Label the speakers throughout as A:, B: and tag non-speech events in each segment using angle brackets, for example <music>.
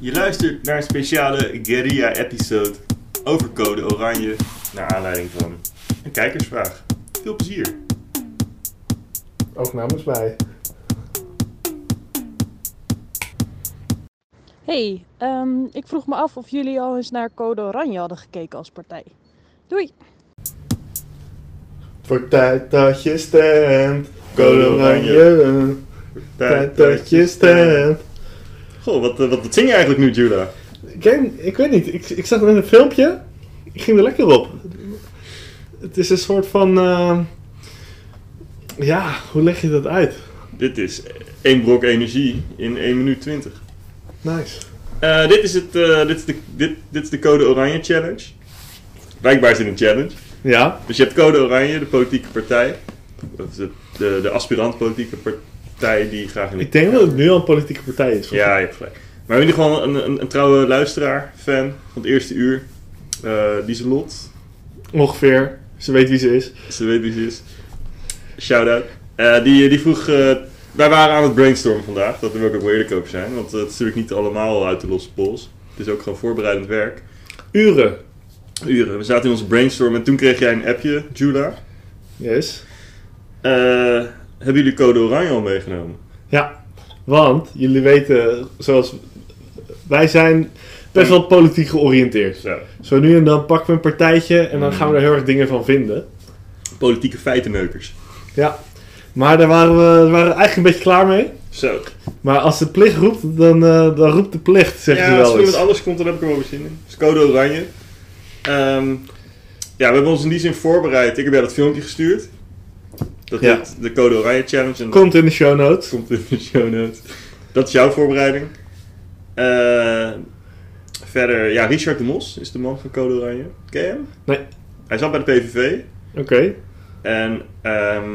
A: Je luistert naar een speciale Guerilla-episode over Code Oranje. Naar aanleiding van een kijkersvraag. Veel plezier.
B: Ook namens mij.
C: Hey, ehm, ik vroeg me af of jullie al eens naar Code Oranje hadden gekeken als partij. Doei!
B: Het wordt tijd dat je stemt.
A: Code
B: Code
A: Oranje.
B: oranje. Tijd dat je stemt.
A: Goh, wat, eh, wat, wat zing je eigenlijk nu, Judah?
B: Game, ik weet niet. Ik, ik zag het in een filmpje. Ik ging er lekker op. Het is een soort van... eh, ja, hoe leg je dat uit?
A: Dit is één brok energie in 1 minuut 20.
B: Nice.
A: Eh, dit, is het, eh, dit, is de, dit, dit is de Code Oranje Challenge. Blijkbaar is dit een challenge.
B: Ja.
A: Dus je hebt Code Oranje, de politieke partij. Of de, de, de aspirant politieke partij die graag in de
B: Ik denk dat het nu al een politieke partij is.
A: Ja, je hebt gelijk. Maar in ieder geval een, een, een trouwe luisteraar, fan van het eerste uur. Eh, die is Lot.
B: Ongeveer. Ze weet wie ze is.
A: Ze weet wie ze is. Shout-out. Eh, die, die vroeg... eh, wij waren aan het brainstormen vandaag. Dat wil ik ook wel eerlijk over zijn. Want eh, het is natuurlijk niet allemaal uit de losse pols. Het is ook gewoon voorbereidend werk.
B: Uren.
A: Uren. We zaten in onze brainstorm en toen kreeg jij een appje, Jula.
B: Yes.
A: Eh, hebben jullie code oranje al meegenomen?
B: Ja. Want, jullie weten, zoals... Wij zijn best wel politiek georiënteerd.
A: Zo.
B: Zo nu en dan pakken we een partijtje en dan gaan we er heel erg dingen van vinden.
A: Politieke feitenneukers.
B: Ja. Maar daar waren we, daar waren we eigenlijk een beetje klaar mee.
A: Zo.
B: Maar als de plicht roept, dan, eh, dan roept de plicht, zeggen ze
A: ja, als
B: wel
A: er iemand
B: eens.
A: anders komt, dan heb ik er wel weer zin in. Dus code oranje. Ehm, ja, we hebben ons in die zin voorbereid. Ik heb jou dat filmpje gestuurd. Dat
B: Ja.
A: heet de code oranje challenge. En dat
B: Komt in de show notes.
A: komt in de show notes. Dat is jouw voorbereiding. Eh, verder, ja, Richard de Mos is de man van code oranje. Ken je hem?
B: Nee.
A: Hij zat bij de PVV.
B: Oké.
A: En ehm,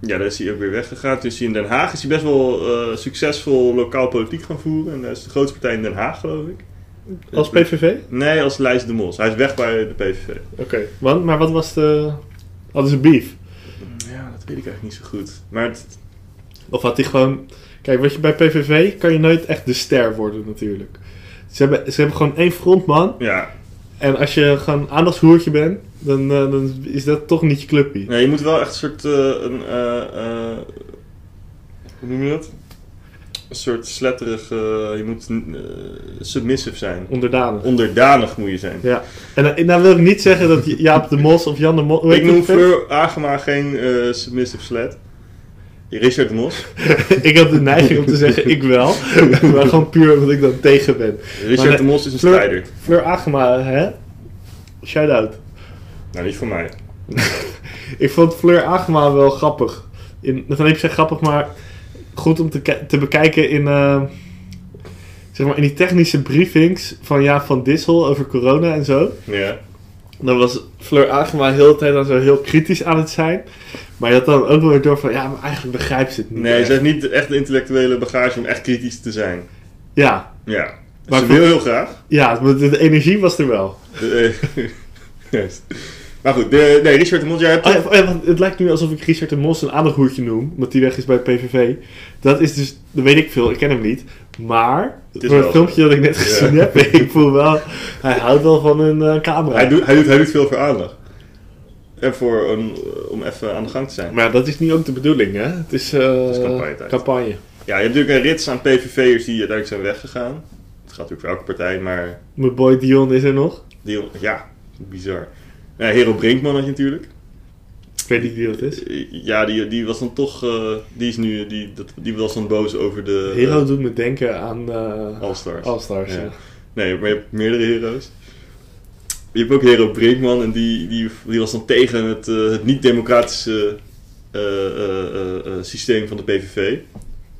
A: ja, daar is hij ook weer weggegaan. Toen is hij in Den Haag is hij best wel eh, succesvol lokaal politiek gaan voeren. En hij is de grootste partij in Den Haag, geloof ik. Dus-
B: Als PVV?
A: Nee, als Lijst de Mos. Hij is weg bij de PVV.
B: Oké. Want, maar wat was de... Hadden ze beef?
A: Ja, dat weet ik eigenlijk niet zo goed. Maar het,
B: Of had hij gewoon... Kijk, weet je, bij PVV kan je nooit echt de ster worden natuurlijk. Ze hebben, ze hebben gewoon één frontman.
A: ja,
B: En als je gewoon aandachtshoertje bent, dan, eh, dan is dat toch niet je clubpie.
A: nee, je moet wel echt een soort... eh, een, eh, eh, hoe noem je dat? Een soort sletterig... eh, je moet eh, submissive zijn.
B: Onderdanig.
A: Onderdanig moet je zijn.
B: Ja, en dan, nou wil ik niet zeggen dat Jaap de Mos of Jan de Mos... hoe heet
A: Ik noem
B: die vent?
A: Fleur Agema geen eh, submissive slet. Richard de Mos.
B: <laughs> ik had de neiging om te zeggen ik
A: <laughs>
B: wel, maar gewoon puur omdat ik dan tegen ben.
A: Richard
B: Maar
A: de Mos is een
B: Fleur-
A: strijder.
B: Fleur Agema, hè? Shout-out.
A: Nou, niet voor mij.
B: Ik vond Fleur Agema wel grappig. In, dat wil ik zeggen grappig, maar goed om te, ki- te bekijken in... eh, Zeg maar, in die technische briefings van Jaap van Dissel over corona en zo.
A: Ja.
B: Dan was Fleur Agema heel de tijd dan zo heel kritisch aan het zijn. Maar je had dan ook wel weer door van... Ja, maar eigenlijk begrijpt ze het niet.
A: Nee,
B: echt.
A: ze heeft niet echt de intellectuele bagage om echt kritisch te zijn.
B: Ja,
A: Ja. Dus
B: Maar
A: ze
B: goed.
A: wil heel graag.
B: Ja, maar de, de energie was er wel.
A: De- eh, <laughs> juist. Maar goed, de, nee, Richard de Mos, jij hebt...
B: Oh ja, oh ja, want het lijkt nu alsof ik Richard de Mos een aandachthoertje noem, omdat die weg is bij PVV. Dat is dus, dat weet ik veel, ik ken hem niet. Maar,
A: is
B: door
A: wel
B: het filmpje dat ik net
A: Ja.
B: gezien heb, <laughs> ik voel wel, hij houdt wel van een eh, camera.
A: hij, doet, hij, doet, hij doet veel voor aandacht. En voor een, om even aan de gang te zijn.
B: Maar dat is niet ook de bedoeling, hè? Het is, eh
A: is campagnetijd.
B: campagne.
A: Ja, je hebt natuurlijk een rits aan PVV'ers die uiteindelijk zijn weggegaan. Het gaat natuurlijk voor elke partij, maar...
B: Mijn boy Dion is er nog.
A: Die, ja, bizar. Nou, Hero Brinkman had je natuurlijk.
B: Ik weet niet wie dat is.
A: Ja, die, die was dan toch. eh, die is nu. Die, dat, die was dan boos over de.
B: Hero doet me denken aan eh
A: All-Stars.
B: All-Stars.
A: Ja.
B: ja.
A: Nee, maar je hebt meerdere heroes. Je hebt ook Hero Brinkman en die, die, die was dan tegen het, eh, het niet-democratische eh, eh, eh, eh, systeem van de PVV.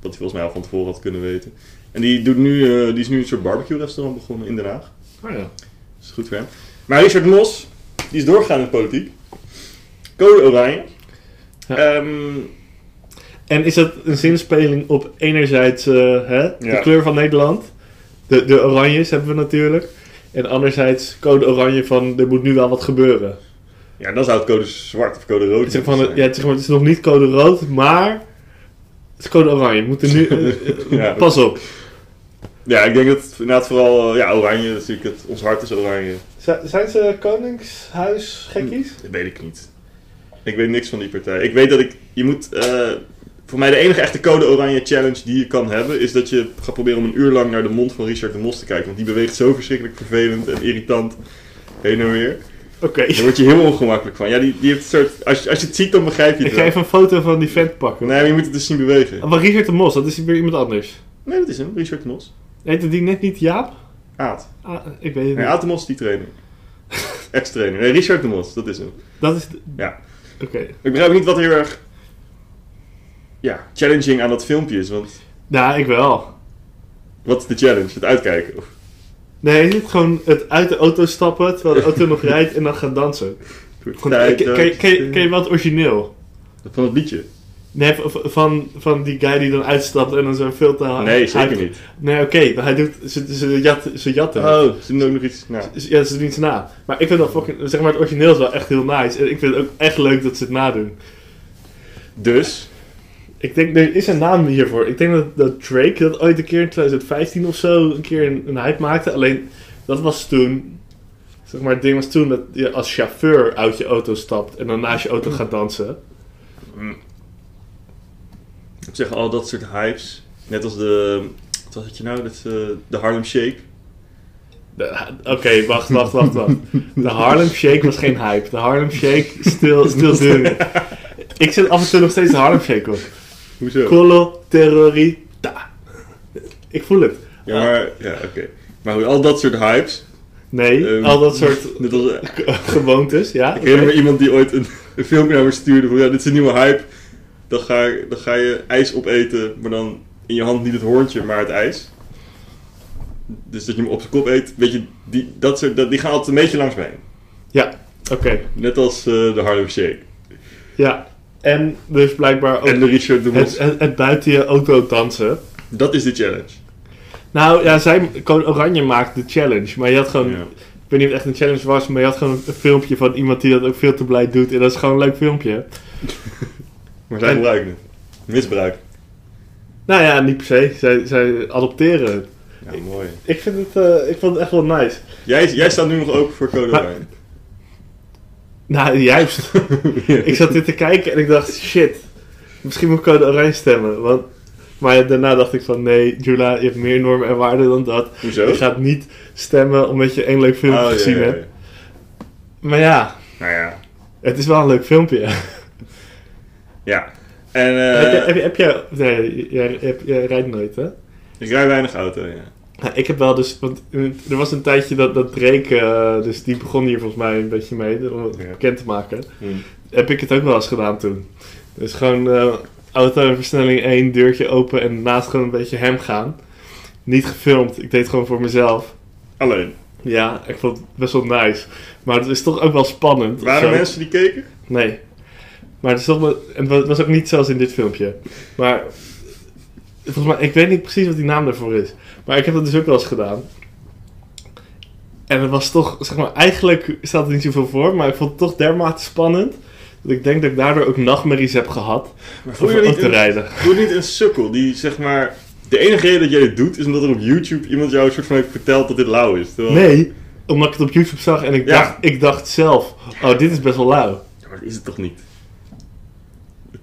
A: Wat hij volgens mij al van tevoren had kunnen weten. En die, doet nu, eh, die is nu een soort barbecue-restaurant begonnen in Den Haag.
B: Oh ja.
A: Dat is goed voor hem. Maar Richard Mos, die is doorgegaan in de politiek. Code Oranje.
B: Ja.
A: Ehm,
B: En is dat een zinspeling op enerzijds eh, hè,
A: Ja.
B: de kleur van Nederland? De, de oranjes hebben we natuurlijk. En anderzijds code oranje van er moet nu wel wat gebeuren.
A: Ja, dan zou het code zwart of code
B: Het
A: rood
B: is, zeg
A: moeten
B: van,
A: zijn.
B: ja, het, is zeg maar, het is nog niet code
A: <laughs>
B: rood, maar het is code oranje. We moeten nu... eh, eh,
A: Ja.
B: pas op.
A: Ja, ik denk dat het inderdaad vooral eh, ja, oranje, dat is natuurlijk het, ons hart is oranje. Hm,
B: Z- zijn ze koningshuis gekkies?
A: Dat weet ik niet. Ik weet niks van die partij. Ik weet dat ik, je moet, eh, voor mij de enige echte code oranje challenge die je kan hebben, is dat je gaat proberen om een uur lang naar de mond van Richard de Mos te kijken. Want die beweegt zo verschrikkelijk vervelend en irritant heen en weer.
B: Hm. Oké.
A: Daar word je heel ongemakkelijk van. Ja, die, die heeft een soort, als, je- als je het ziet dan begrijp je
B: <laughs> Ik
A: het
B: ga
A: wel.
B: even een foto van die vent pakken.
A: Nee, maar je moet het dus zien bewegen.
B: Maar Richard de Mos, dat is weer iemand anders.
A: Nee, dat is hem, Richard de Mos.
B: Heette die net niet Jaap?
A: Aad.
B: Ah, ik weet het
A: Nee,
B: niet.
A: Aad de Mos is die trainer. <laughs> Ex-trainer. Nee, Richard de Mos, dat is hem.
B: Dat is... de-
A: Ja.
B: Oké.
A: Ik begrijp niet wat heel erg ja, challenging aan dat filmpje is. Want
B: Nou, ik wel.
A: wat is de challenge? Het uitkijken? Of,
B: Nee, is het gewoon het uit de auto stappen, terwijl de auto nog rijdt en dan gaan dansen. Gewoon, eh,
A: Tijd,
B: ken- ken-
A: tijd,
B: ken- Ken je wel het origineel?
A: Van het liedje?
B: Nee, v- v- van, van die guy die dan uitstapt en dan zo'n filter haalt.
A: Nee, zeker niet.
B: Nee, oké, maar hij doet... Ze, ze, jatten, ze jatten het.
A: Oh, ze doen ook nog iets. Nou,
B: Dus Ja, ze doen iets na. Maar ik vind dat fucking... Zeg maar, het origineel is wel echt heel nice. En ik vind het ook echt leuk dat ze het nadoen.
A: dus,
B: Ik denk, er is een naam hiervoor. Ik denk dat, dat Drake dat ooit een keer in 2015 of zo een keer een, een hype maakte. Alleen, dat was toen... Zeg maar, het ding was toen dat je als chauffeur uit je auto stapt en dan naast je auto gaat dansen.
A: ik zeg al dat soort hypes. Net als de, wat was het je nou? Dat, eh, de Harlem Shake.
B: De- Oké, wacht, wacht, wacht, wacht. De Harlem Shake was geen hype. De Harlem Shake, stil, stil doen. Ik zet af en toe nog steeds de Harlem Shake op.
A: Hoezo?
B: Colo Terrorita. Ik voel het.
A: Ja, maar, ja, oké. Maar goed, al dat soort hypes.
B: Nee,
A: ehm,
B: al dat soort
A: <laughs> Net als, eh,
B: gewoontes, ja.
A: Ik herinner me iemand die ooit een, een <laughs> filmpje naar me stuurde van ja, dit is een nieuwe hype. Dan ga, dan ga je ijs opeten, maar dan in je hand niet het hoorntje, maar het ijs. Dus dat je hem op zijn kop eet. Weet je, die, dat soort, dat, die gaan altijd een beetje langs mij.
B: Ja, oké.
A: Net als eh, de Harlem Shake.
B: Ja. En dus blijkbaar ook
A: En de Richard de Mos.
B: het, het, het buiten je auto dansen.
A: Dat is de challenge.
B: Nou ja, zij, Koon Oranje maakt de challenge. Maar je had gewoon,
A: Ja.
B: ik weet niet of het echt een challenge was, maar je had gewoon een filmpje van iemand die dat ook veel te blij doet. En dat is gewoon een leuk filmpje.
A: Maar zij
B: En-
A: gebruiken het. Misbruik.
B: Nou ja, niet per se. Zij, zij adopteren het.
A: Ja, mooi.
B: Ik, vind het, eh, ik vond het echt wel nice.
A: Jij, jij staat nu nog open voor Code
B: Maar-
A: Oranje.
B: Nou, <laughs> juist. ik zat dit te kijken en ik dacht, shit. Misschien moet ik code oranje stemmen. Want... Maar ja, daarna dacht ik van, nee, Jula, je hebt meer normen en waarden dan dat.
A: Hoezo?
B: Je gaat niet stemmen omdat je één leuk filmpje
A: Oh, ja,
B: gezien
A: ja, ja.
B: hebt. Maar ja,
A: Nou ja.
B: het is wel een leuk filmpje.
A: Eh. Ja. En
B: <laughs> heb, je,
A: eh,
B: heb, je- heb jij... Nee, jij, jij- jij rijdt nooit, hè?
A: ik rij weinig auto, ja.
B: Nou, ik heb wel dus, want eh, er was een tijdje dat, dat Drake, eh, dus die begon hier volgens mij een beetje mee, om het
A: Ja.
B: bekend te maken.
A: Hmm.
B: Heb ik het ook wel eens gedaan toen. Dus gewoon eh, auto en versnelling 1, deurtje open en naast gewoon een beetje hem gaan. Niet gefilmd, ik deed het gewoon voor mezelf.
A: Alleen.
B: Ja, ik vond het best wel nice. Maar het is toch ook wel spannend.
A: Waren
B: Zo.
A: er mensen die keken?
B: Nee. Maar het, is toch, wel- en het was ook niet zoals in dit filmpje. Maar volgens mij, ik weet niet precies wat die naam daarvoor is. Maar ik heb dat dus ook wel eens gedaan. En het was toch, zeg maar, eigenlijk staat er niet zoveel voor, maar ik vond het toch dermate spannend. Dat ik denk dat ik daardoor ook nachtmerries heb gehad
A: Voel
B: om
A: je,
B: auto
A: niet
B: te
A: een,
B: rijden.
A: voel je niet een sukkel die zeg maar. De enige reden dat jij dit doet is omdat er op YouTube iemand jou een soort van heeft verteld dat dit lauw is. Terwijl-
B: Nee, omdat ik het op YouTube zag en ik,
A: Ja.
B: dacht, ik dacht zelf, oh dit is best wel lauw.
A: Ja, maar dat is het toch niet?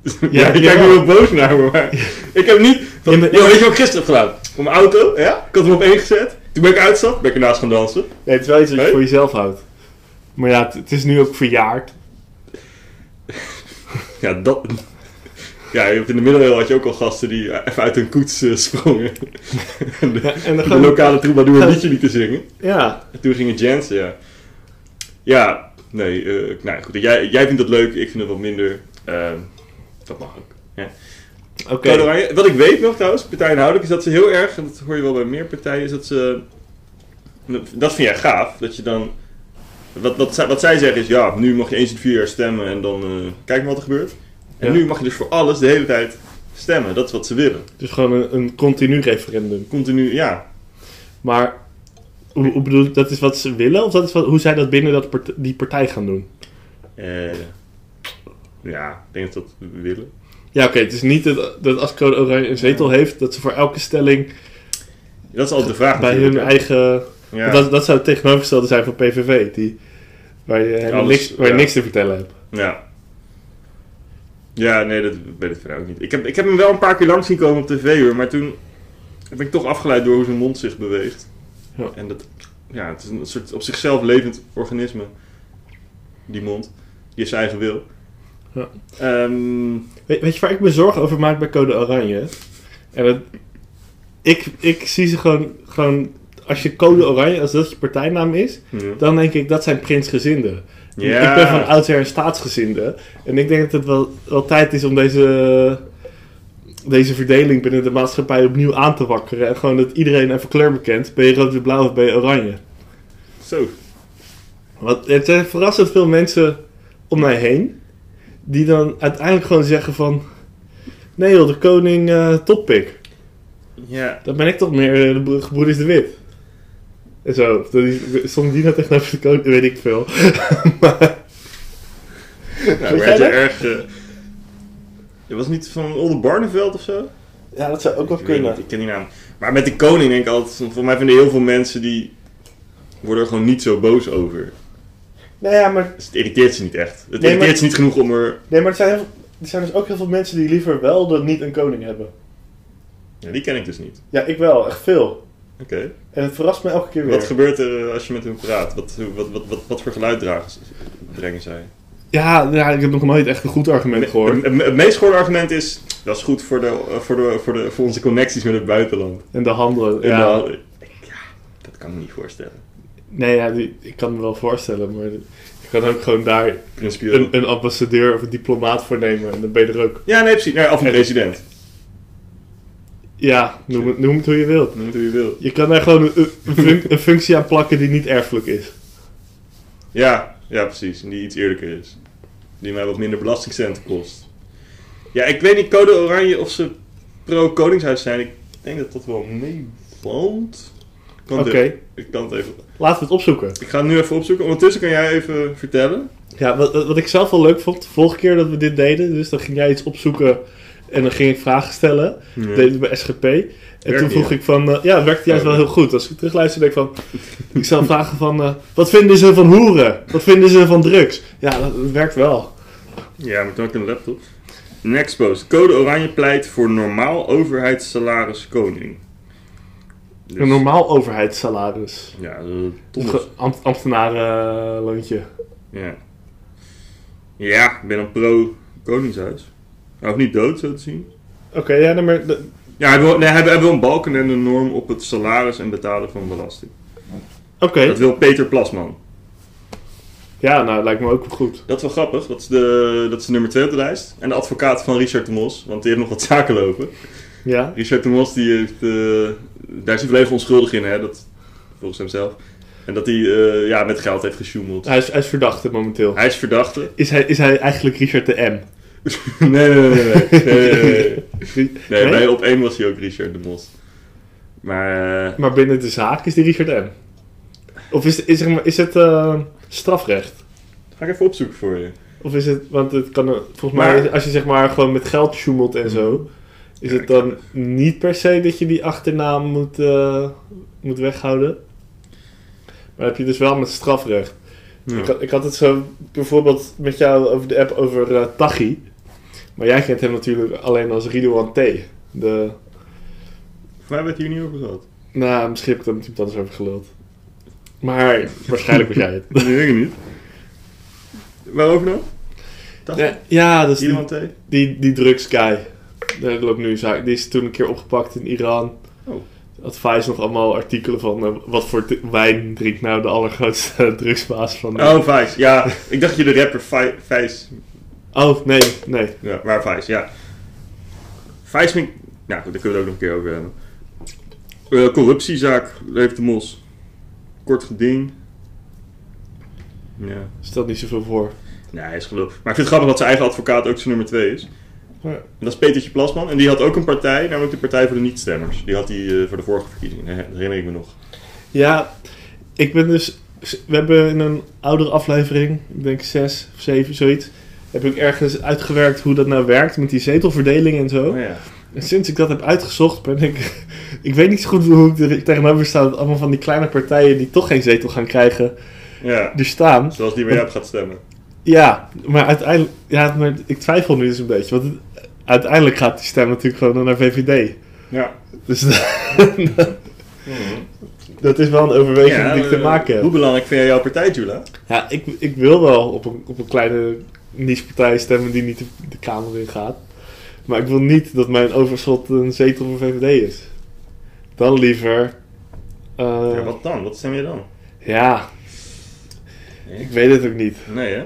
B: Ja,
A: <laughs> Ja, ik kijk
B: jawel.
A: nu wel boos naar me, maar ik heb niet... Van,
B: Ja, maar-
A: "Yo, weet je wat ik gisteren heb gedaan? Op mijn auto, ja? Ik had hem op één gezet. Toen ben ik uitstap, ben ik ernaast gaan dansen.
B: Nee, het is wel iets wat je
A: Nee?
B: voor jezelf houdt. Maar ja, het- het is nu ook verjaard.
A: Ja, dat... <laughs> Ja, je hebt in de middeleeuwen had je ook al gasten die eh, even uit hun koets eh, sprongen. en de,
B: Ja, en dan
A: <laughs> de
B: gaan we-
A: lokale troubadour
B: <laughs>
A: een liedje lieten zingen.
B: Ja,
A: En toen gingen Jansen, ja. Ja, nee, eh nou ja, goed. Jij, jij vindt het leuk, ik vind het wat minder. Ehm, dat mag ook. Ja.
B: oké.
A: Code Oranje. Wat ik weet nog trouwens, partijinhoudelijk, is dat ze heel erg, en dat hoor je wel bij meer partijen, is dat ze. Dat vind jij gaaf, dat je dan. Wat, wat, zij- wat zij zeggen is, ja, nu mag je eens in vier jaar stemmen en dan eh, kijk maar wat er gebeurt. En
B: Ja.
A: nu mag je dus voor alles de hele tijd stemmen. Dat is wat ze willen.
B: Dus gewoon een, een continu referendum.
A: Continu, ja.
B: Maar hoe, hoe bedoel ik, dat is wat ze willen? Of dat is wat, hoe zij dat binnen dat part- die partij gaan doen?
A: Eh, ja, ik denk dat ze dat willen.
B: Ja, oké. het is niet dat, dat als Code Oranje een zetel heeft, dat ze voor elke stelling
A: Dat is altijd de vraag
B: Bij hun
A: natuurlijk, hè.
B: eigen...
A: Ja.
B: Dat, dat zou het tegenovergestelde zijn van PVV. Die, waar je helemaal
A: Alles,
B: niks, waar je
A: ja.
B: niks te vertellen hebt.
A: Ja. Ja, nee, dat weet ik verder ook niet. Ik heb, ik heb hem wel een paar keer langs zien komen op tv hoor, maar toen ben ik toch afgeleid door hoe zijn mond zich beweegt.
B: Ja.
A: En dat, ja, het is een soort op zichzelf levend organisme, die mond. Die heeft zijn eigen wil.
B: Ja.
A: Ehm,
B: Weet, weet je waar ik me zorgen over maak bij Code Oranje? En dat, ik, ik zie ze gewoon, gewoon... Als je Code Oranje, als dat je partijnaam is...
A: ja.
B: Dan denk ik, dat zijn prinsgezinden.
A: hm. Ja.
B: Ik ben van oudsher een staatsgezinde. En ik denk dat het wel, wel tijd is om deze, deze verdeling binnen de maatschappij opnieuw aan te wakkeren. En gewoon dat iedereen even kleur bekent. Ben je rood, wit, blauw of ben je oranje?
A: Zo.
B: Want er zijn verrassend veel mensen om mij heen. Die dan uiteindelijk gewoon zeggen van... Nee joh, de koning eh toppik.
A: Ja.
B: Dan ben ik toch meer eh, de bro- gebroeders de wit. En zo. Dat is- Stond die nou tegenover de koning? Weet ik veel. maar...
A: Nou, werd je erg... eh, je was niet van Oldenbarneveld of zo?
B: Ja, dat zou ook wel
A: Ik weet niet, ik ken die naam. Maar met de koning denk ik altijd, voor mij vinden heel veel mensen die worden er gewoon niet zo boos over.
B: Nou ja, maar,
A: Dus het irriteert ze niet echt. Het
B: maar-
A: irriteert ze niet genoeg om er...
B: nee, maar er, zijn heel veel- er zijn dus ook heel veel mensen die liever wel dan niet een koning hebben.
A: Ja, die ken ik dus niet.
B: Ja, ik wel. Echt veel.
A: Oké.
B: En het verrast me elke keer weer.
A: Wat gebeurt er eh, als je met hun praat? Wat, wat, wat, wat, wat voor geluid dragen, ze- brengen zij?
B: ja, ja, ik heb nog nooit echt een goed argument gehoord.
A: Het, het- het meest gehoorde argument is... Dat is goed voor, de, eh, voor, de, voor, de, voor onze connecties met het buitenland.
B: En de handelen.
A: En
B: Ja.
A: dan- ik- ja, dat kan ik me niet voorstellen.
B: Nee, ja, die, ik kan me wel voorstellen, maar je kan ook gewoon daar
A: Principieel.
B: een, een ambassadeur of een diplomaat voor nemen. En dan ben je er ook.
A: Ja, nee, precies. Nee, of een president.
B: Ja, noem het, noem het hoe je wilt.
A: Noem het hoe je wil.
B: Je kan daar gewoon een, een, func- een functie aan plakken die niet erfelijk is.
A: Ja, ja, precies. En die iets eerlijker is. Die mij wat minder belastingcenten kost. Ja, ik weet niet code oranje of ze pro-koningshuis zijn. Ik denk dat dat wel meevalt. Ik kan het
B: Oké.
A: even- Ik kan het even...
B: Laten we het opzoeken.
A: Ik ga het nu even opzoeken. Ondertussen kan jij even vertellen.
B: Ja, wat, wat ik zelf wel leuk vond, de vorige keer dat we dit deden, dus dan ging jij iets opzoeken en dan ging ik vragen stellen. Dat deed ik bij SGP. En toen
A: niet,
B: vroeg
A: hè?
B: ik van, eh, ja, het werkte juist
A: Oh.
B: wel heel goed. Als ik terugluister, denk ik van, ik zou vragen van, eh, wat vinden ze van hoeren? Wat vinden ze van drugs? Ja, dat, dat werkt wel.
A: Ja, maar toen had ik een laptop. Next post. Code oranje pleit voor normaal overheidssalaris koning. Dus-
B: Een normaal overheidssalaris.
A: Ja, eh,
B: Een
A: Thomas.
B: ge- ambt, ambtenarenloontje.
A: Ja. Ja, ik ben een pro-koningshuis. Hij hoeft niet dood, zo te zien.
B: Oké, ja, nee, maar de-
A: Ja, hij wil, nee, hij, wil- hij wil een balken en een norm op het salaris en betalen van belasting.
B: oké.
A: Dat wil Peter Plasman.
B: Ja, nou, lijkt me ook wel goed.
A: Dat is wel grappig. Dat is de, dat is de nummer 2 op de lijst. En de advocaat van Richard de Mos, want die heeft nog wat <laughs> zaken lopen.
B: Ja.
A: Richard de Mos, die heeft, eh, daar is hij volledig onschuldig in, hè? Dat, volgens hemzelf. En dat hij eh, ja, met geld heeft gesjoemeld.
B: Hij is, hij is verdachte momenteel.
A: Hij is verdachte. <laughs>
B: Is hij, is hij eigenlijk Richard de M? <laughs>
A: nee, nee, nee, nee. nee, nee, nee, nee. Nee,
B: Nee?
A: bij op één was hij ook Richard de Mos. Maar eh,
B: Maar binnen de zaak is die Richard M. Of is, is, zeg maar, is het eh, strafrecht?
A: ga ik even opzoeken voor je.
B: Of is het, want het kan, eh, volgens
A: Maar-
B: mij, als je zeg maar gewoon met geld sjoemelt en zo, is
A: Ja,
B: het dan niet per se dat je die achternaam moet, eh, moet weghouden? Maar heb je dus wel met strafrecht. Ik, had- ik had het zo bijvoorbeeld met jou over de app over eh, Tachi. Maar jij kent hem natuurlijk alleen als Ridouan T. De,
A: Voor mij werd hier niet over gehad.
B: nou, misschien heb ik daar met iemand anders over geluld. Maar waarschijnlijk was jij het.
A: Dat weet ik niet. Waarover dan? Dat
B: Ja, ja, dat is die,
A: Iemand thee?
B: die, die drugsguy. Daar loopt nu een zaak. Die is toen een keer opgepakt in Iran.
A: Oh.
B: Advies nog allemaal artikelen van eh, wat voor d- wijn drinkt nou de allergrootste <laughs> drugsbaas van. de-
A: Oh, Vice. Ja, ik dacht je de rapper Vi- Vice.
B: Oh, nee, nee.
A: Ja, maar Vice, ja. Vice vind ik... Nou goed, daar kunnen we het ook nog een keer over hebben. Eh, corruptiezaak, leeft de mos. Kort geding. Ja.
B: Stelt niet zoveel voor.
A: Nee, hij is gelul. Maar ik vind het grappig dat zijn eigen advocaat ook zijn nummer 2 is. En dat is Petertje Plasman. En die had ook een partij, namelijk de Partij voor de Niet-Stemmers. Die had hij eh, voor de vorige verkiezingen. hè, Dat herinner ik me nog.
B: Ja, ik ben dus. We hebben in een oudere aflevering, ik denk zes of zeven, zoiets. Heb ik ergens uitgewerkt hoe dat nou werkt met die zetelverdeling en zo.
A: Oh, ja.
B: En sinds ik dat heb uitgezocht, ben ik. <laughs> Ik weet niet zo goed hoe ik er tegenover sta. dat Allemaal van die kleine partijen die toch geen zetel gaan krijgen,
A: Ja,
B: er staan.
A: zoals die waar jij op gaat stemmen.
B: Ja, maar uiteindelijk. Ja, maar ik twijfel nu dus een beetje. Want het- uiteindelijk gaat die stem natuurlijk gewoon naar VVD.
A: Ja.
B: Dus <laughs> dat is wel een overweging die ik te
A: eh,
B: maken
A: Hoe
B: heb.
A: belangrijk vind jij jouw partij, Jula?
B: Ja, ik, ik wil wel op een, op een kleine niche-partij stemmen die niet de, de Kamer in gaat. Maar ik wil niet dat mijn overschot een zetel voor VVD is. Dan liever. eh,
A: Ja, wat dan? Wat stem je dan?
B: ja, ik weet het ook niet.
A: Nee, hè?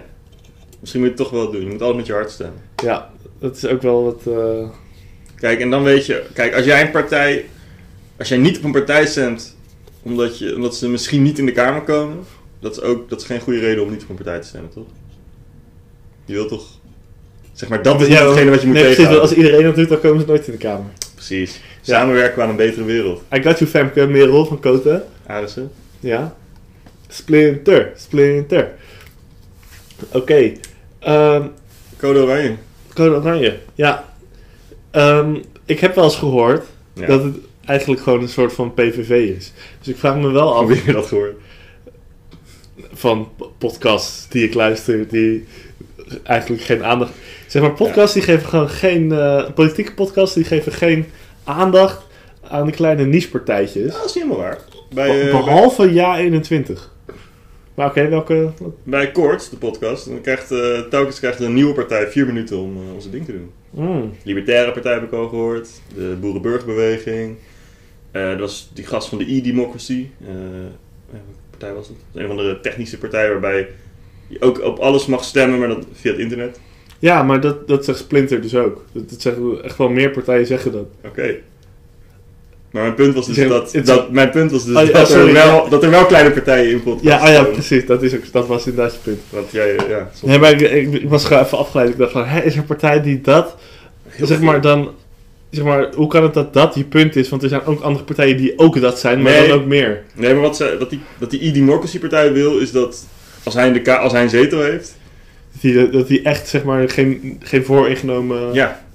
A: Misschien moet je het toch wel doen. Je moet altijd met je hart stemmen.
B: Ja, dat is ook wel wat. eh,
A: Kijk, en dan weet je... Kijk, als jij een partij... Als jij niet op een partij stemt... Omdat, je, omdat ze misschien niet in de Kamer komen... Dat is, ook, dat is geen goede reden om niet op een partij te stemmen, toch? Je wilt toch... Zeg maar, dat is niet
B: ja,
A: hetgene wat je moet
B: nee, precies, want
A: tegenhouden.
B: als iedereen dat doet, dan komen ze nooit in de Kamer.
A: Precies. Samenwerken aan een betere wereld.
B: I got you Femke, Merel van Koten.
A: Arissen.
B: Ja. Splinter, Splinter. Oké. ehm,
A: Code Oranje.
B: Code Oranje. Ja. Ehm, ik heb wel eens gehoord
A: Ja.
B: dat het eigenlijk gewoon een soort van PVV is. Dus ik vraag me wel af
A: Alweer dat gehoord.
B: van p- podcasts die ik luister, die eigenlijk geen aandacht... Zeg maar, podcasts die geven gewoon geen... eh, politieke podcasts die geven geen aandacht aan de kleine niche-partijtjes.
A: Ja, dat is niet helemaal waar. Bij, eh, bij,
B: Behalve Ja21. Maar oké, welke...
A: bij Koorts, de podcast, dan krijgt, eh, telkens krijgt een nieuwe partij vier minuten om eh, onze ding te doen.
B: Mm.
A: Libertaire Partij heb ik al gehoord. De Boerenburgerbeweging. Eh dat was die gast van de e-democracy. Eh, welke partij was het? Dat is een van de technische partijen waarbij je ook op alles mag stemmen, maar dat via het internet.
B: Ja, maar dat, dat zegt Splinter dus ook. Dat, dat zeggen echt wel meer partijen zeggen dat.
A: Oké. Maar mijn punt was dus
B: Zeg,
A: dat,
B: het-
A: dat, mijn punt was dus
B: Oh ja,
A: dat,
B: sorry,
A: er wel,
B: ja.
A: dat er wel kleine partijen in podcast
B: Ja, ah ja
A: komen.
B: precies. Dat, is ook, dat was inderdaad je punt.
A: Want jij, eh, ja, soms-
B: Nee, maar ik, ik, ik was gewoon even afgeleid. Ik dacht van, hè, is er een partij die dat... zeg maar dan... Zeg maar, hoe kan het dat dat je punt is? Want er zijn ook andere partijen die ook dat zijn, maar
A: Nee.
B: dan ook meer.
A: Nee, maar wat, ze, wat die, wat die e-democracy-partij wil, is dat als hij, in de ka- als hij een zetel heeft...
B: Dat die, dat die echt, zeg maar, geen, geen vooringenomen...
A: Ja.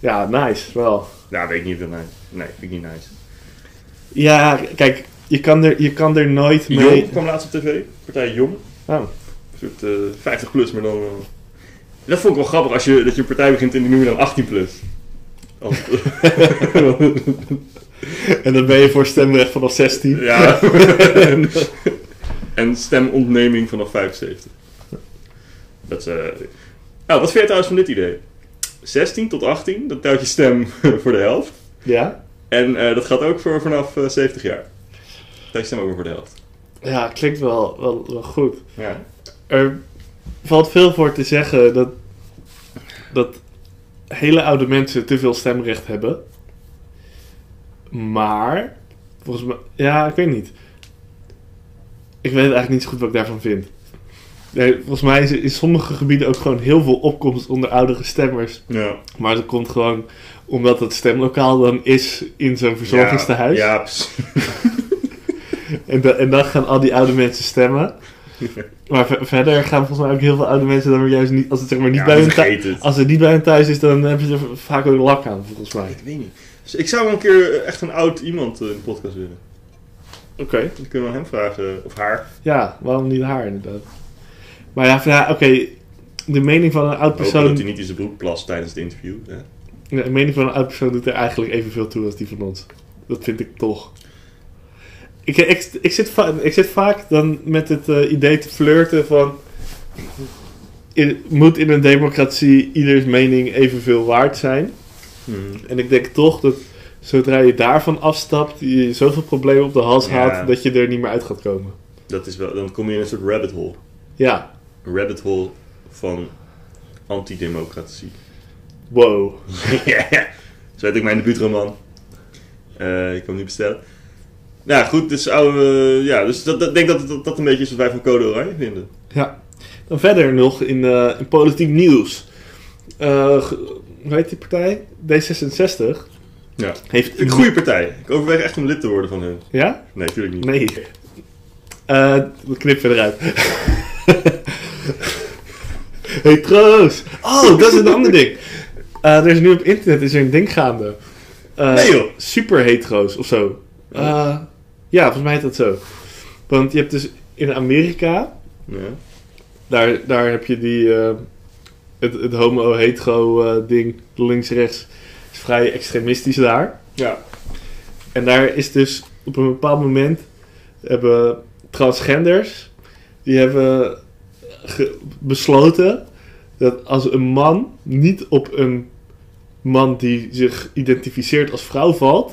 B: ja, nice, wel.
A: Nou, weet ik niet. of dat nice- Nee, vind ik niet nice.
B: Ja, kijk, je kan er, je kan er nooit mee...
A: Jong kwam laatst op tv. Partij Jong.
B: Oh. <laughs>
A: Een soort eh, 50 plus, maar dan... eh, dat vond ik wel grappig, als je, dat je een partij begint en die noem je dan 18 plus. Als,
B: En dan ben je voor stemrecht vanaf 16. <laughs>
A: ja. en stemontneming vanaf 75. Dat is... eh, Nou, wat vind je trouwens van dit idee? 16 tot 18, dan telt je stem <laughs> voor de helft.
B: Ja?
A: En eh, dat gaat ook voor vanaf eh, 70 jaar. Daar stem ook maar voor de helft.
B: Ja, klinkt wel, wel, wel goed.
A: Ja.
B: Er valt veel voor te zeggen dat, dat hele oude mensen te veel stemrecht hebben. Maar, volgens mij, ja, ik weet niet. Ik weet eigenlijk niet zo goed wat ik daarvan vind. Nee, volgens mij is er in sommige gebieden ook gewoon heel veel opkomst onder oudere stemmers.
A: ja.
B: Maar dat komt gewoon omdat het stemlokaal dan is in zo'n verzorgingstehuis.
A: Ja, ja, precies.
B: En, da- en dan gaan al die oude mensen stemmen. Maar ver- verder gaan volgens mij ook heel veel oude mensen dan weer juist niet. Als het zeg maar niet
A: Ja,
B: bij hun thuis.
A: vergeet het.
B: Als het niet bij hun thuis is, dan hebben ze er v- vaak ook lak aan, volgens mij.
A: Ik weet niet. Dus ik zou wel een keer eh, echt een oud iemand eh, in de podcast willen.
B: Oké.
A: Dan kunnen we aan hem vragen, eh, of haar.
B: Ja, waarom niet haar inderdaad? Maar ja, van, ja, oké. De mening van een oud
A: Hopen dat hij
B: persoon.
A: niet in zijn broek plast tijdens het interview. Ja.
B: De mening van een oud persoon doet er eigenlijk evenveel toe als die van ons. Dat vind ik toch. Ik, ik, ik, zit, va- ik zit vaak dan met het eh, idee te flirten van. in- moet in een democratie ieders mening evenveel waard zijn?
A: Hmm.
B: En ik denk toch dat zodra je daarvan afstapt, je zoveel problemen op de hals
A: Ja.
B: haalt dat je er niet meer uit gaat komen.
A: Dat is wel, dan kom je in een soort rabbit hole.
B: Ja,
A: Een rabbit hole van antidemocratie. <laughs>
B: wow.
A: ja, zo heet ik mijn debuutroman. Eh, ik kan hem niet bestellen. Nou goed, dus, oude, ja, dus dat, dat, ik denk dat, dat dat een beetje is wat wij van Code Oranje vinden.
B: Ja. Dan verder nog in, eh, in politiek nieuws. Eh, ge- hoe heet die partij? D66.
A: Ja.
B: Heeft
A: Een goede partij. Ik overweeg echt om lid te worden van hun.
B: Ja?
A: Nee, natuurlijk niet.
B: Nee. Eh we knippen eruit. <laughs> hey Troost! Oh, dat is een ander ding. Eh, er is nu op internet is er een ding gaande. Eh,
A: Nee, joh.
B: Super hetero's of zo. Eh, ja, volgens mij heet dat zo. Want je hebt dus in Amerika,
A: Ja.
B: daar, daar heb je die, eh, het, het homo-hetero eh, ding, links-rechts, is vrij extremistisch daar.
A: Ja.
B: En daar is dus op een bepaald moment hebben transgenders, die hebben ge- besloten dat als een man niet op een man die zich identificeert als vrouw valt,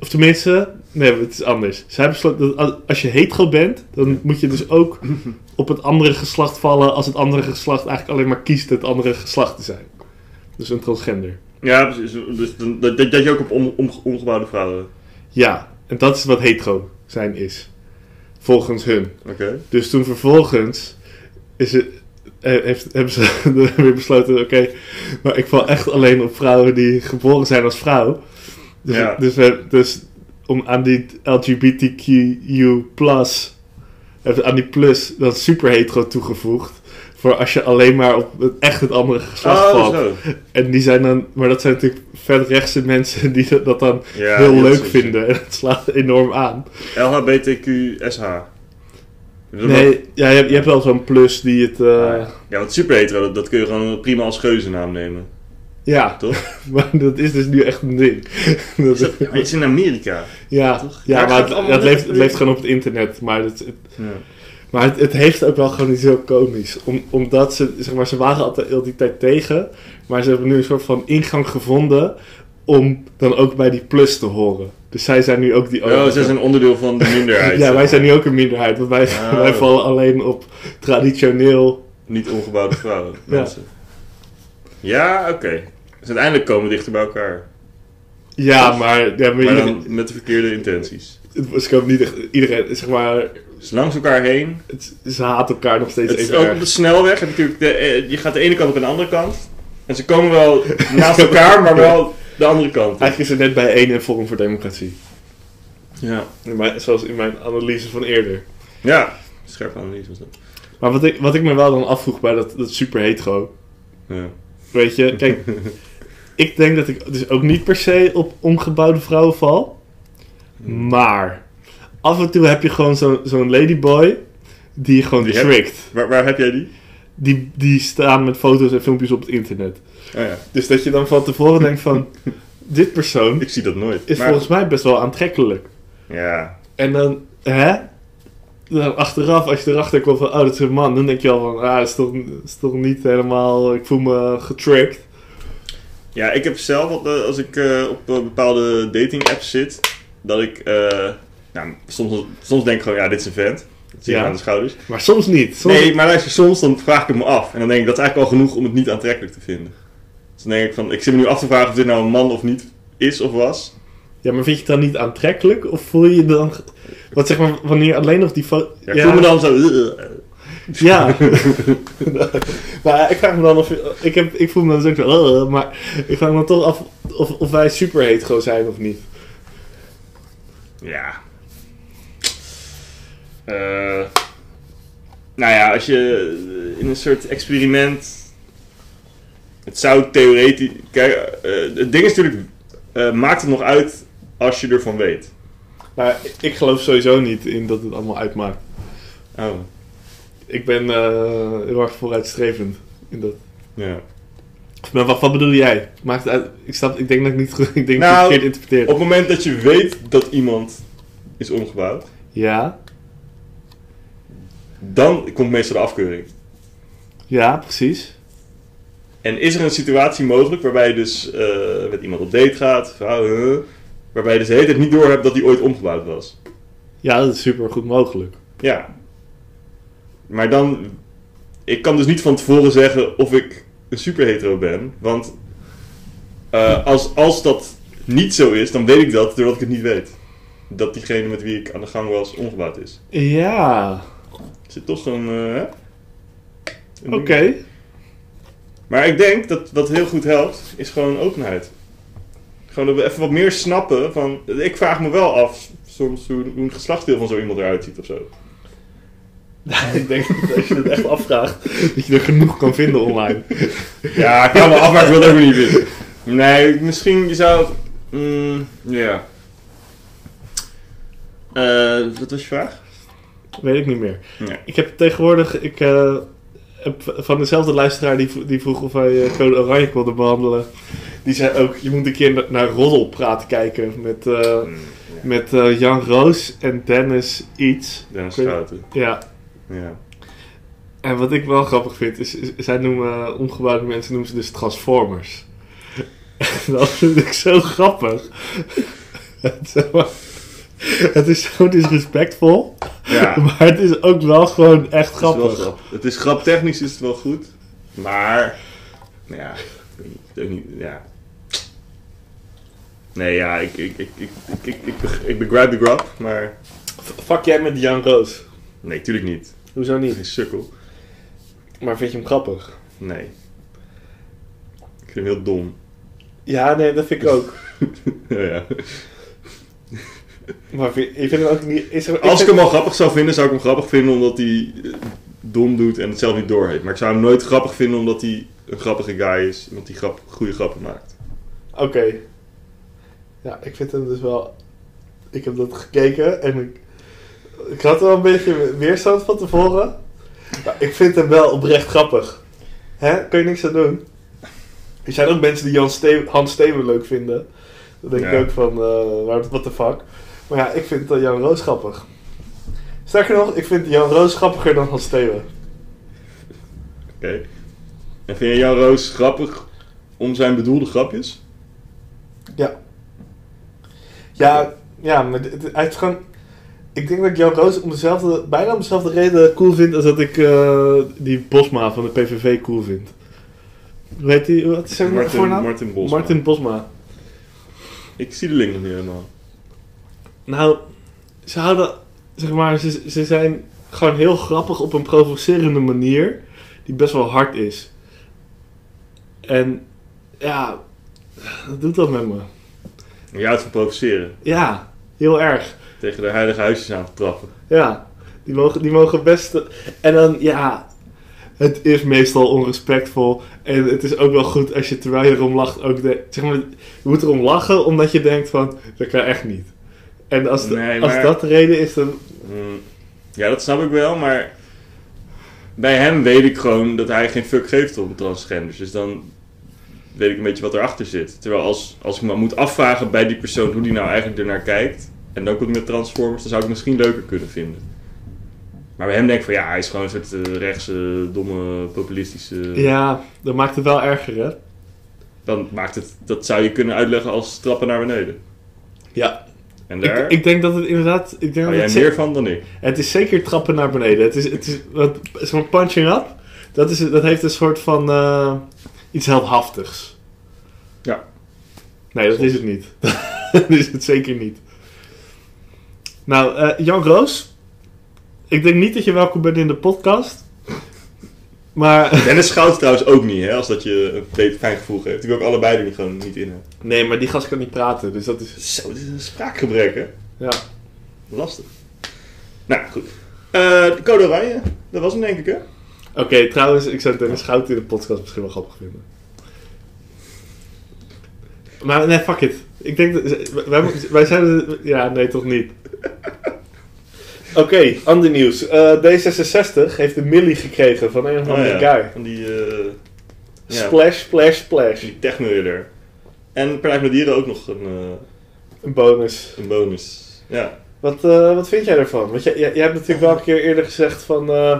B: of tenminste, nee, het is anders. Zij besloten dat als- als je hetero bent, dan moet je dus ook op het andere geslacht vallen als het andere geslacht eigenlijk alleen maar kiest het andere geslacht te zijn. Dus een transgender.
A: Ja, precies. Dus dan- dat, dat, dat je ook op om, om- omgebouwde vrouwen.
B: Ja, en dat is wat hetero zijn is. Volgens hun.
A: Oké.
B: Dus toen vervolgens is het, eh, heeft, hebben ze <laughs> weer besloten: oké, maar ik val echt alleen op vrouwen die geboren zijn als vrouw. Dus,
A: Ja.
B: dus, we- dus om aan die LGBTQ plus, aan die plus, dan super hetero toegevoegd. Voor als je alleen maar op het, echt het andere geslacht
A: Oh,
B: valt.
A: zo.
B: En die zijn dan, maar dat zijn natuurlijk verrechtse mensen die dat, dat dan
A: Ja,
B: heel
A: ja,
B: leuk
A: precies.
B: vinden. <laughs> En dat slaat enorm aan.
A: LHBTQSH.
B: Nee, ja, je, hebt, je hebt wel zo'n plus die het. eh,
A: Ah, Ja, want super hetero, dat, dat kun je gewoon prima als geuzennaam nemen.
B: Ja,
A: Toch?
B: <laughs> maar dat is dus nu echt een ding. <laughs> Dat-
A: Is dat, maar het is in Amerika.
B: ja,
A: toch?
B: ja,
A: Daar
B: maar
A: gaat
B: het,
A: het allemaal
B: dat
A: net
B: leeft, het
A: weer-
B: leeft gewoon op het internet. Maar het, het-
A: Ja.
B: maar het, het heeft ook wel gewoon iets heel komisch. Om, omdat ze, zeg maar, ze waren altijd heel die tijd tegen. Maar ze hebben nu een soort van ingang gevonden om dan ook bij die plus te horen. Dus zij zijn nu ook die
A: Oh, ze zijn onderdeel van de minderheid.
B: <laughs> Ja, wij zijn nu ook een minderheid. Want wij,
A: Oh.
B: wij vallen alleen op traditioneel
A: <laughs> Niet ongebouwde vrouwen. Mensen. Ja, oké. Dus uiteindelijk komen we dichter bij elkaar.
B: Ja, maar, ja, maar,
A: Maar
B: iedereen,
A: dan met de verkeerde intenties.
B: het was ook niet echt, iedereen, zeg maar,
A: Dus langs elkaar heen.
B: het, ze haten elkaar nog steeds
A: Het is
B: even
A: ook op
B: erg.
A: de snelweg. En natuurlijk de, eh, je gaat de ene kant op en de andere kant. En ze komen wel naast elkaar, maar wel de andere kant. op.
B: Eigenlijk is het net bij één en Forum voor Democratie.
A: Ja.
B: In mijn- zoals in mijn analyse van eerder.
A: Ja. Scherpe analyse was dat.
B: Maar wat ik, wat ik me wel dan afvroeg bij dat, dat super hetero,
A: Ja.
B: weet je, kijk,
A: <laughs>
B: ik denk dat ik dus ook niet per se op omgebouwde vrouwen val,
A: Hmm.
B: maar af en toe heb je gewoon zo'n zo'n ladyboy die je gewoon
A: Die heb-
B: trickt.
A: Waar, waar heb jij die?
B: Die, die staan met foto's en filmpjes op het internet.
A: Oh ja.
B: Dus dat je dan van tevoren denkt
A: <laughs>
B: van... dit persoon
A: Ik zie dat nooit.
B: is
A: Maar-
B: volgens mij best wel aantrekkelijk.
A: Ja.
B: En dan, hè? Dan achteraf, als je erachter komt van... oh, dat is een man. Dan denk je al van... ah, dat is toch, dat is toch niet helemaal... ik voel me getrickt.
A: Ja, ik heb zelf, wat, eh, als ik eh, op eh, bepaalde dating apps zit, dat ik, eh, nou, soms, soms denk ik gewoon, ja, dit is een vent. Dat zie je
B: Ja.
A: aan de schouders.
B: Maar soms niet. Soms,
A: Nee, maar luister, soms dan vraag ik het me af. En dan denk ik, dat is eigenlijk al genoeg om het niet aantrekkelijk te vinden. Dus dan denk ik van, ik zit me nu af te vragen of dit nou een man of niet is of was.
B: Ja, maar vind je het dan niet aantrekkelijk? Of voel je je dan... ge- Wat zeg maar, wanneer alleen nog die foto...
A: Ja, ik voel me <laughs> dan zo... eh, eh,
B: Ja. maar ja, ik vraag me dan of... Ik, heb, ik voel me dan zo van... "Ugh", maar ik vraag me dan toch af of, of wij super hetero zijn of niet.
A: ja. Eh, nou ja, als je eh, in een soort experiment... Het zou theoretisch... Kijk, eh, het ding is natuurlijk... eh, maakt het nog uit als je ervan weet.
B: Maar ik geloof sowieso niet in dat het allemaal uitmaakt.
A: Oh,
B: Ik ben eh, heel erg vooruitstrevend in dat.
A: ja.
B: Maar wat, wat bedoel jij? Maakt het uit? Ik, snap, ik denk dat ik niet goed, <laughs> ik denk
A: Nou,
B: dat ik verkeerd interpreteer.
A: Op het moment dat je weet dat iemand is omgebouwd...
B: Ja,
A: Dan komt meestal de afkeuring.
B: ja, precies.
A: En is er een situatie mogelijk waarbij je dus eh, met iemand op date gaat, vrouw, huh, waarbij je dus de hele tijd niet doorhebt dat die ooit omgebouwd was?
B: Ja, dat is super goed mogelijk.
A: Ja. Maar dan, ik kan dus niet van tevoren zeggen of ik een superhetero ben, want eh, als, als dat niet zo is, dan weet ik dat doordat ik het niet weet. Dat diegene met wie ik aan de gang was omgebouwd is.
B: Ja,
A: Er zit toch een... eh, een
B: oké.
A: Maar ik denk dat wat heel goed helpt, is gewoon openheid. Gewoon dat we even wat meer snappen van... Ik vraag me wel af soms hoe, hoe een geslachtsdeel van zo iemand eruit ziet of zo. ik denk dat als je het echt afvraagt.
B: <laughs> Dat je er genoeg kan vinden
A: <laughs>
B: online.
A: <laughs> Ja, ik kan me af, maar ik wil het ook niet winnen. Nee, misschien je zou. mm, Ja. Eh, wat was je vraag?
B: Weet ik niet meer.
A: Nee.
B: Ik heb tegenwoordig... Ik eh, heb van dezelfde luisteraar die, v- die vroeg of hij eh, Code Oranje wilde behandelen. Die zei ook, je moet een keer na- naar Roddelpraat kijken. Met, eh,
A: Mm,
B: met eh, Jan Roos en Dennis iets.
A: Dennis
B: Ik weet-
A: Schouten.
B: Ja.
A: Ja.
B: En wat ik wel grappig vind, is, is- zij noemen eh, omgebouwde mensen noemen ze dus Transformers. <laughs> En dat vind ik zo grappig. Het is zo- Het is zo disrespectvol,
A: ja.
B: <laughs> maar het is ook wel gewoon echt
A: Het is,
B: grappig.
A: wel grap. het is graptechnisch is het wel goed, maar nou ja, ik weet niet, ja. Nee, ja, ik, ik, ik, ik, ik, ik, ik, beg- ik begrijp de grap, maar
B: Fuck jij met Jan Roos?
A: nee, tuurlijk niet.
B: Hoezo niet?
A: Geen sukkel.
B: Maar vind je hem grappig?
A: Nee. Ik vind hem heel dom. <laughs>
B: Ja, nee, dat vind ik ook.
A: Ja, ja.
B: Maar vind, ik vind hem ook niet... Is er,
A: Als ik hem al grappig zou vinden, zou ik hem grappig vinden omdat hij eh, dom doet en het zelf niet doorheeft. Maar ik zou hem nooit grappig vinden omdat hij een grappige guy is, iemand die grap, goede grappen maakt.
B: Oké. Ja, ik vind hem dus wel. Ik heb dat gekeken en ik. Ik had wel een beetje weerstand van tevoren. Maar ik vind hem wel oprecht grappig. Hè? Kun je niks aan doen? Er zijn ook mensen die Jan Ste- Hans Steven leuk vinden. Dan denk
A: Ja.
B: ik ook van, wat what the fuck. Maar ja, ik vind eh, Jan Roos grappig. Sterker nog, ik vind Jan Roos grappiger dan Hans Steven.
A: Oké. En vind je Jan Roos grappig om zijn bedoelde grapjes?
B: Ja. Ja, ja maar d- d- hij is gewoon... Ik denk dat ik Jan Roos om dezelfde, bijna om dezelfde reden cool vind als dat ik eh, die Bosma van de PVV cool vind. Hoe heet die? Wat is zijn
A: Martin,
B: voornaam?
A: Martin Bosma.
B: Martin Bosma.
A: Ik zie de link nog niet helemaal.
B: Nou, ze houden... Zeg maar, ze, ze zijn gewoon heel grappig op een provocerende manier. Die best wel hard is. En ja, dat doet dat met me.
A: Je houdt van provoceren.
B: Ja, heel erg.
A: Tegen de heilige huisjes aan te trappen.
B: Ja, die mogen, die mogen best. En dan, ja, het is meestal onrespectvol. En het is ook wel goed als je terwijl je erom lacht ook denkt. Zeg maar, je moet erom lachen omdat je denkt van, dat kan echt niet. En als, de-
A: Nee,
B: als
A: maar-
B: dat de reden is, dan.
A: Mm. Ja, dat snap ik wel, maar... Bij hem weet ik gewoon dat hij geen fuck geeft om transgenders. Dus dan weet ik een beetje wat erachter zit. Terwijl als, als ik me moet afvragen bij die persoon hoe die nou eigenlijk ernaar kijkt... en dan komt met Transformers, dan zou ik het misschien leuker kunnen vinden. Maar bij hem denk ik van ja, hij is gewoon een soort eh, rechtse, domme, populistische...
B: Ja, dat maakt het wel erger, hè?
A: Dan maakt het... Dat zou je kunnen uitleggen als trappen naar beneden.
B: Ja.
A: En daar... Oh
B: Ik, ik denk dat het inderdaad. Ik
A: Hou
B: denk dat
A: jij
B: het,
A: meer
B: ze-
A: van dan ik?
B: het is zeker trappen naar beneden. Het is, het is, wat- zo'n punching up. Dat, is, dat heeft een soort van. eh, iets heldhaftigs.
A: Ja.
B: Nee, dat is het niet. <laughs> dat is het zeker niet. Nou, eh, Jan Roos. Ik denk niet dat je welkom bent in de podcast. Maar...
A: Dennis Schout trouwens ook niet, hè? Als dat je een fe- fijn gevoel geeft. Die wil ik allebei er niet, gewoon niet in hebben.
B: <laughs> Nee, maar die gast kan niet praten, dus dat is...
A: Zo, dit is een spraakgebrek, hè?
B: Ja.
A: Lastig. Nou, goed. Eh, de Code Oranje, dat was hem denk ik, hè?
B: Oké, trouwens, ik zou Dennis Schout in de podcast misschien wel grappig vinden. Maar nee, fuck it. Ik denk dat... Wij, mo- wij zijn... Ja, nee, toch niet. Oké, ander nieuws. Eh, D66 heeft de millie gekregen van een of andere
A: Oh,
B: guy.
A: Van die, eh ja,
B: Splash, splash, splash.
A: die techno-ridder. En Partij van de Dieren ook nog een, eh,
B: Een bonus.
A: een bonus. Ja.
B: Wat, eh, wat vind jij daarvan? Want jij, jij, jij hebt natuurlijk wel een keer eerder gezegd van... eh,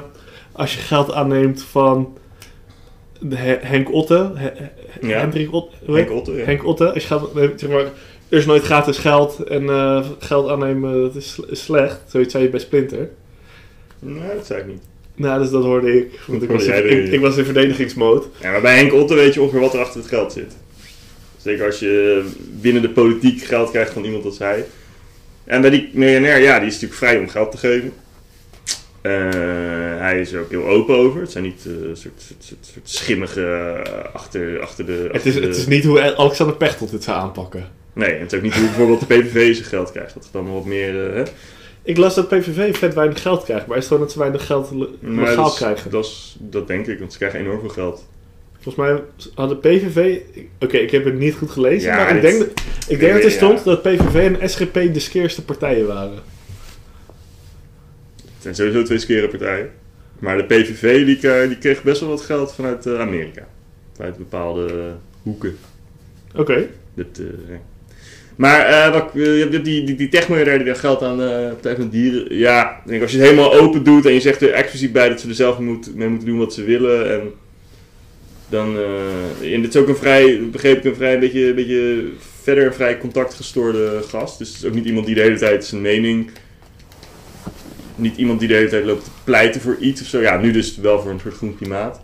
B: als je geld aanneemt van de He- Henk Otte... He- He-
A: Ja.
B: Hendrik Otte... hoe heet-
A: Henk Otten, ja.
B: Henk Otte. Als je geld, aanneemt, zeg maar, er is nooit gratis geld en eh, geld aannemen dat is, sle- is slecht. Zoiets zei je bij Splinter.
A: Nee, dat zei ik niet.
B: Nou, dus dat hoorde ik.
A: <laughs>
B: Want ik,
A: Hoorde
B: was,
A: jij
B: in,
A: er
B: ik,
A: niet.
B: ik was in verdedigingsmode.
A: Ja, maar bij Henk Otten weet je ongeveer wat er achter het geld zit. Zeker als je binnen de politiek geld krijgt van iemand als hij. En bij die miljonair, ja, die is natuurlijk vrij om geld te geven. Eh, hij is er ook heel open over. Het zijn niet eh, soort, soort, soort, soort schimmige eh, achter, achter de...
B: Het
A: achter
B: is,
A: de-
B: het is niet hoe Alexander Pechtold dit zou aanpakken.
A: Nee, en het is ook niet hoe bijvoorbeeld de PVV zijn geld krijgt. Dat is dan wat meer... eh, hè.
B: Ik las dat PVV vet weinig geld krijgt, maar is het gewoon dat ze weinig geld le-
A: Maar dus-
B: legaal
A: dat is-
B: krijgen?
A: Dat, is- dat denk ik, want ze krijgen enorm veel geld.
B: Volgens mij hadden PVV... Oké, ik heb het niet goed gelezen,
A: Ja,
B: maar ik
A: dit-
B: denk, dat- ik denk dat
A: ja.
B: er stond dat PVV en SGP de skeerste partijen waren.
A: Het zijn sowieso twee skere partijen. Maar de PVV die kreeg, die kreeg best wel wat geld vanuit eh, Amerika. Vanuit bepaalde eh, hoeken.
B: Oké.
A: Dat, eh, ja. Maar eh, wat, ik- eh, je hebt die, die, die techmiljardair die daar geld aan eh Partij van de Dieren. Ja, ik denk, als je het helemaal open doet en je zegt er expliciet bij dat ze er zelf moet, mee moeten doen wat ze willen. En, dan, eh, en dit is ook een vrij, begreep ik, een vrij een beetje, een beetje verder een vrij contactgestoorde gast. Dus het is ook niet iemand die de hele tijd zijn mening. Niet iemand die de hele tijd loopt te pleiten voor iets of zo. Ja, nu dus wel voor een soort groen klimaat.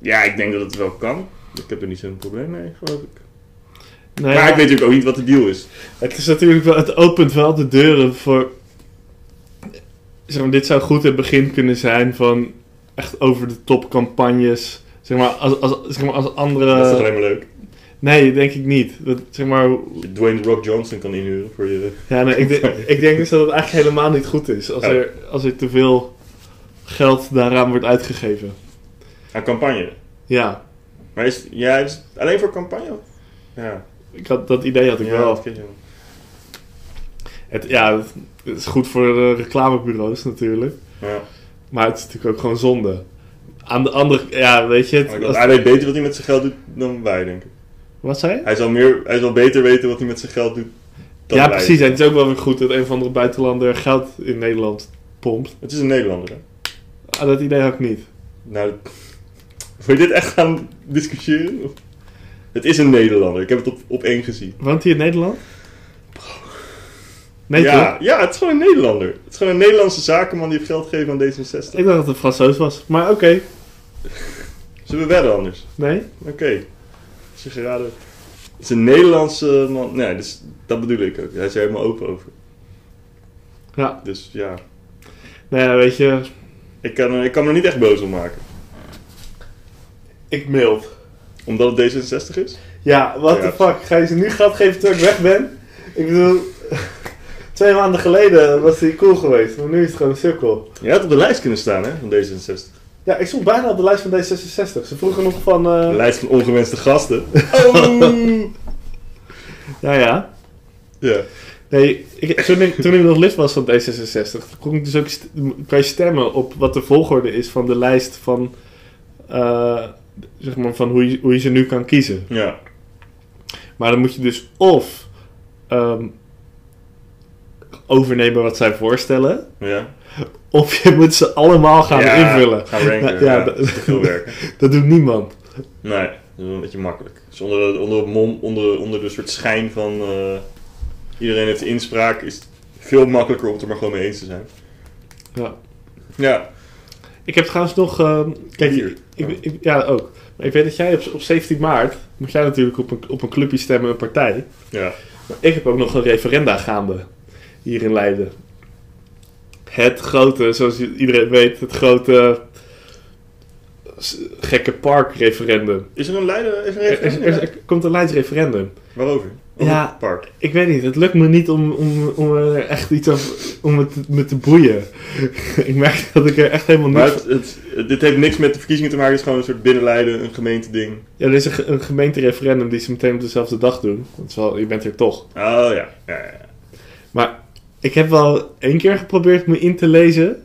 A: Ja, ik denk dat het wel kan. Ik heb er niet zo'n probleem mee, geloof ik.
B: Nou
A: Maar ik
B: ja,
A: weet natuurlijk ook niet wat de deal is.
B: Het is natuurlijk wel, het opent wel de deuren voor. Zeg maar, dit zou goed het begin kunnen zijn van echt over de top campagnes. Zeg maar, als, als, zeg maar, als
A: dat is toch
B: andere.
A: alleen maar leuk.
B: Nee, denk ik niet. Dat, zeg maar,
A: Dwayne The Rock Johnson kan inhuren voor je.
B: ja, nee, ik, denk, ik denk dus dat het eigenlijk helemaal niet goed is als
A: Oh.
B: er, als er te veel geld daaraan wordt uitgegeven.
A: Aan campagne.
B: Ja,
A: Maar is, ja, is het alleen voor campagne? Ja,
B: ik had, dat idee had ik
A: ja
B: wel.
A: dat ken je wel.
B: Het, ja, het, het is goed voor de reclamebureaus natuurlijk.
A: Ja.
B: Maar het is natuurlijk ook gewoon zonde. Aan de andere, ja, weet je.
A: Maar
B: Het,
A: ik-
B: als-
A: Hij weet beter wat hij met zijn geld doet dan wij, denk ik.
B: wat zei je?
A: Hij zal, meer, hij zal beter weten wat hij met zijn geld doet dan
B: ja,
A: wij.
B: precies. En het is ook wel weer goed dat een of andere buitenlander geld in Nederland pompt.
A: Het is een Nederlander, hè?
B: Ah, dat idee had ik niet.
A: Nou, <laughs> dat- wil je dit echt gaan discussiëren? Of- Het is een Nederlander. Ik heb het op, op één gezien.
B: Woont hij in Nederland? Nee,
A: ja,
B: toch?
A: ja, het is gewoon een Nederlander. Het is gewoon een Nederlandse zakenman die heeft geld gegeven aan D66.
B: Ik dacht dat het een Fransoos was. Maar oké.
A: Zullen we wedden anders?
B: Nee?
A: Oké. Is je geraden? Het is een Nederlandse man. Nee, dus, dat bedoel ik ook. Hij is er helemaal open over.
B: Ja.
A: Dus ja,
B: Nou ja, weet je.
A: ik kan, er- ik kan me er niet echt boos om maken.
B: Ik mailt.
A: Omdat het D66 is?
B: Ja, what
A: Ja.
B: the fuck. Ga je ze nu geld geven terwijl ik weg ben? Ik bedoel... <laughs> Twee maanden geleden was hij cool geweest. Maar nu is het gewoon een cirkel.
A: Je had op de lijst kunnen staan, hè, van D66.
B: Ja, ik stond bijna op de lijst van D66. Ze vroegen nog van...
A: De
B: eh
A: lijst van ongewenste gasten. Oh!
B: Nou ja.
A: <laughs> ja.
B: Nee, ik, toen, ik, toen ik nog lid was van D66, kon ik dus ook st- kan je stemmen op wat de volgorde is van de lijst van, eh, zeg maar van hoe, je, hoe je ze nu kan kiezen.
A: ja.
B: Maar dan moet je dus of ehm, overnemen wat zij voorstellen,
A: Ja.
B: of je moet ze allemaal gaan
A: Ja,
B: invullen.
A: Gaan ranken.
B: Ja,
A: Ja,
B: ja,
A: dat is te veel werk.
B: Dat doet niemand.
A: Nee, dat is wel een beetje makkelijk. Dus onder, onder, het mom, onder, onder de soort schijn van eh, iedereen heeft inspraak, is het veel makkelijker om het er maar gewoon mee eens te zijn.
B: Ja.
A: Ja.
B: Ik heb trouwens nog. ehm, kijk,
A: Bier.
B: Ik, ik- ja, ook. Maar ik weet dat jij op, op 17 maart. moet jij natuurlijk op een, op een clubje stemmen, een partij.
A: Ja.
B: Maar ik heb ook nog een referenda gaande. hier in Leiden. Het grote, zoals iedereen weet, het grote. s- gekke park referendum.
A: Is er een leider? Is er een
B: Er, er-
A: referendum?
B: er- er komt een Leids referendum.
A: Waarover? Over
B: Ja.
A: het park.
B: Ik weet niet, het lukt me niet om, om, om er echt iets over, om het me te boeien. <laughs> ik merk dat ik er echt helemaal niet
A: Maar het, het- het- dit heeft niks met de verkiezingen te maken. Het is gewoon een soort binnenleiden, een gemeenteding.
B: Ja, er is een, ge- een gemeentereferendum die ze meteen op dezelfde dag doen. Dat is wel, je bent er toch.
A: Oh ja. ja, ja, ja.
B: Maar ik heb wel één keer geprobeerd me in te lezen.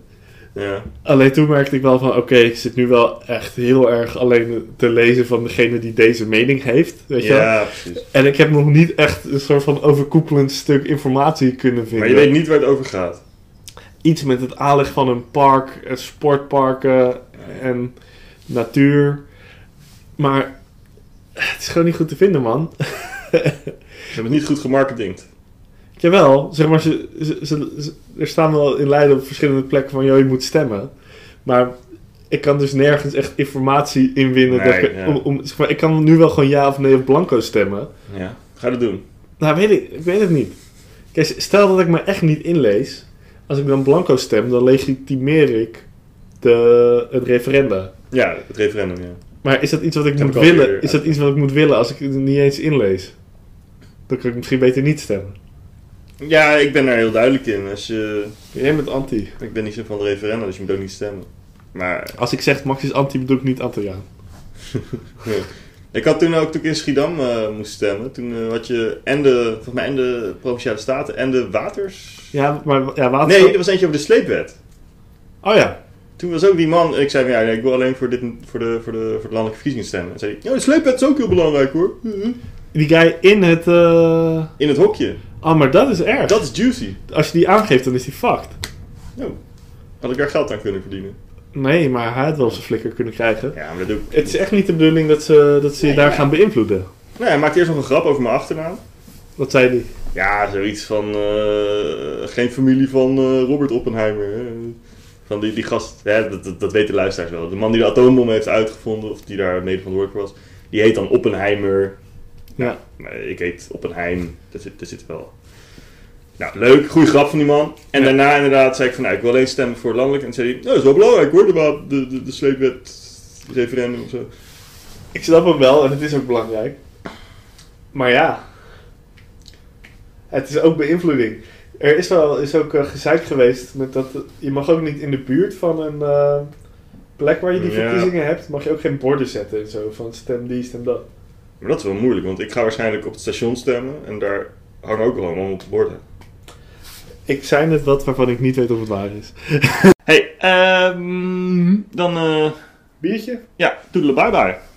A: ja.
B: Alleen toen merkte ik wel van, oké, ik zit nu wel echt heel erg alleen te lezen van degene die deze mening heeft. Weet je wel?
A: Ja, precies.
B: En ik heb nog niet echt een soort van overkoepelend stuk informatie kunnen vinden.
A: Maar je weet niet waar het over gaat.
B: Iets met het aanleg van een park, eh, sportparken en natuur. Maar het is gewoon niet goed te vinden, man. <laughs>
A: Ze hebben het niet goed gemarketinkt.
B: Jawel, zeg maar, ze, ze, ze- ze- er staan wel in Leiden op verschillende plekken van, joh, je moet stemmen. Maar ik kan dus nergens echt informatie inwinnen. dat
A: Nee,
B: ik,
A: ja.
B: om, om- zeg maar, ik kan nu wel gewoon ja of nee of blanco stemmen.
A: Ja. Ga dat doen.
B: Nou, weet ik, ik weet het niet. Kijk, stel dat ik me echt niet inlees. Als ik dan blanco stem, dan legitimeer ik de, het referenda.
A: Ja, het referendum, ja.
B: Maar is dat iets wat ik
A: Heb
B: moet
A: ik alweer
B: willen? Is dat
A: uit-
B: iets wat ik moet willen als ik het niet eens inlees? Dan kan ik misschien beter niet stemmen.
A: Ja, ik ben daar heel duidelijk in. Als je,
B: Jij bent anti.
A: ik ben niet zo van de referenda, dus je moet ook niet stemmen. Maar
B: Als ik zeg Max is anti, bedoel ik niet Antilliaan.
A: eh, Ik had toen ook, toen ik in Schiedam eh, moest stemmen, toen eh, had je en de, volgens mij en de Provinciale Staten en de Waters...
B: Ja, maar ja, water.
A: Nee, er was eentje over de sleepwet.
B: Oh ja.
A: Toen was ook die man, ik zei van ja, nee, ik wil alleen voor, dit, voor, de, voor, de, voor de landelijke verkiezingen stemmen. En zei hij, ja, de sleepwet is ook heel belangrijk hoor.
B: Die guy in het. eh,
A: In het hokje.
B: Oh, maar dat is erg.
A: Dat is juicy.
B: Als je die aangeeft, dan is die fucked.
A: Nou, had ik daar geld aan kunnen verdienen.
B: Nee, maar hij had wel zijn flikker kunnen krijgen.
A: Ja, maar dat doe ik.
B: Het is echt niet de bedoeling dat ze, dat ze je daar gaan beïnvloeden.
A: Nou, hij maakte eerst nog een grap over mijn achternaam.
B: Wat zei die?
A: Ja, zoiets van eh, geen familie van eh, Robert Oppenheimer. hè. Van die, die gast, hè, dat, dat, dat weten de luisteraars wel. De man die de atoombom heeft uitgevonden, of die daar mede verantwoordelijk voor was, die heet dan Oppenheimer.
B: Ja.
A: Maar ik heet Oppenheim, daar zit, daar zit wel. Nou, leuk, goede grap van die man. En
B: Ja.
A: daarna inderdaad zei ik van, nou, ik wil alleen stemmen voor landelijk. En zei hij, nou, dat is wel belangrijk hoor, de, wa- de, de, de sleepwet, referendum of zo.
B: Ik snap hem wel en het is ook belangrijk. Maar ja, het is ook beïnvloeding. Er is wel is ook eh, gezeik geweest met dat eh, je mag ook niet in de buurt van een eh, plek waar je die
A: Ja.
B: verkiezingen hebt, mag je ook geen borden zetten en zo van stem die, stem dat.
A: Maar dat is wel moeilijk, want ik ga waarschijnlijk op het station stemmen. En daar hangen ook wel allemaal borden.
B: Ik zei net wat waarvan ik niet weet of het waar is.
A: Hey, ehm dan eh
B: Biertje?
A: ja, toedelen bye bye.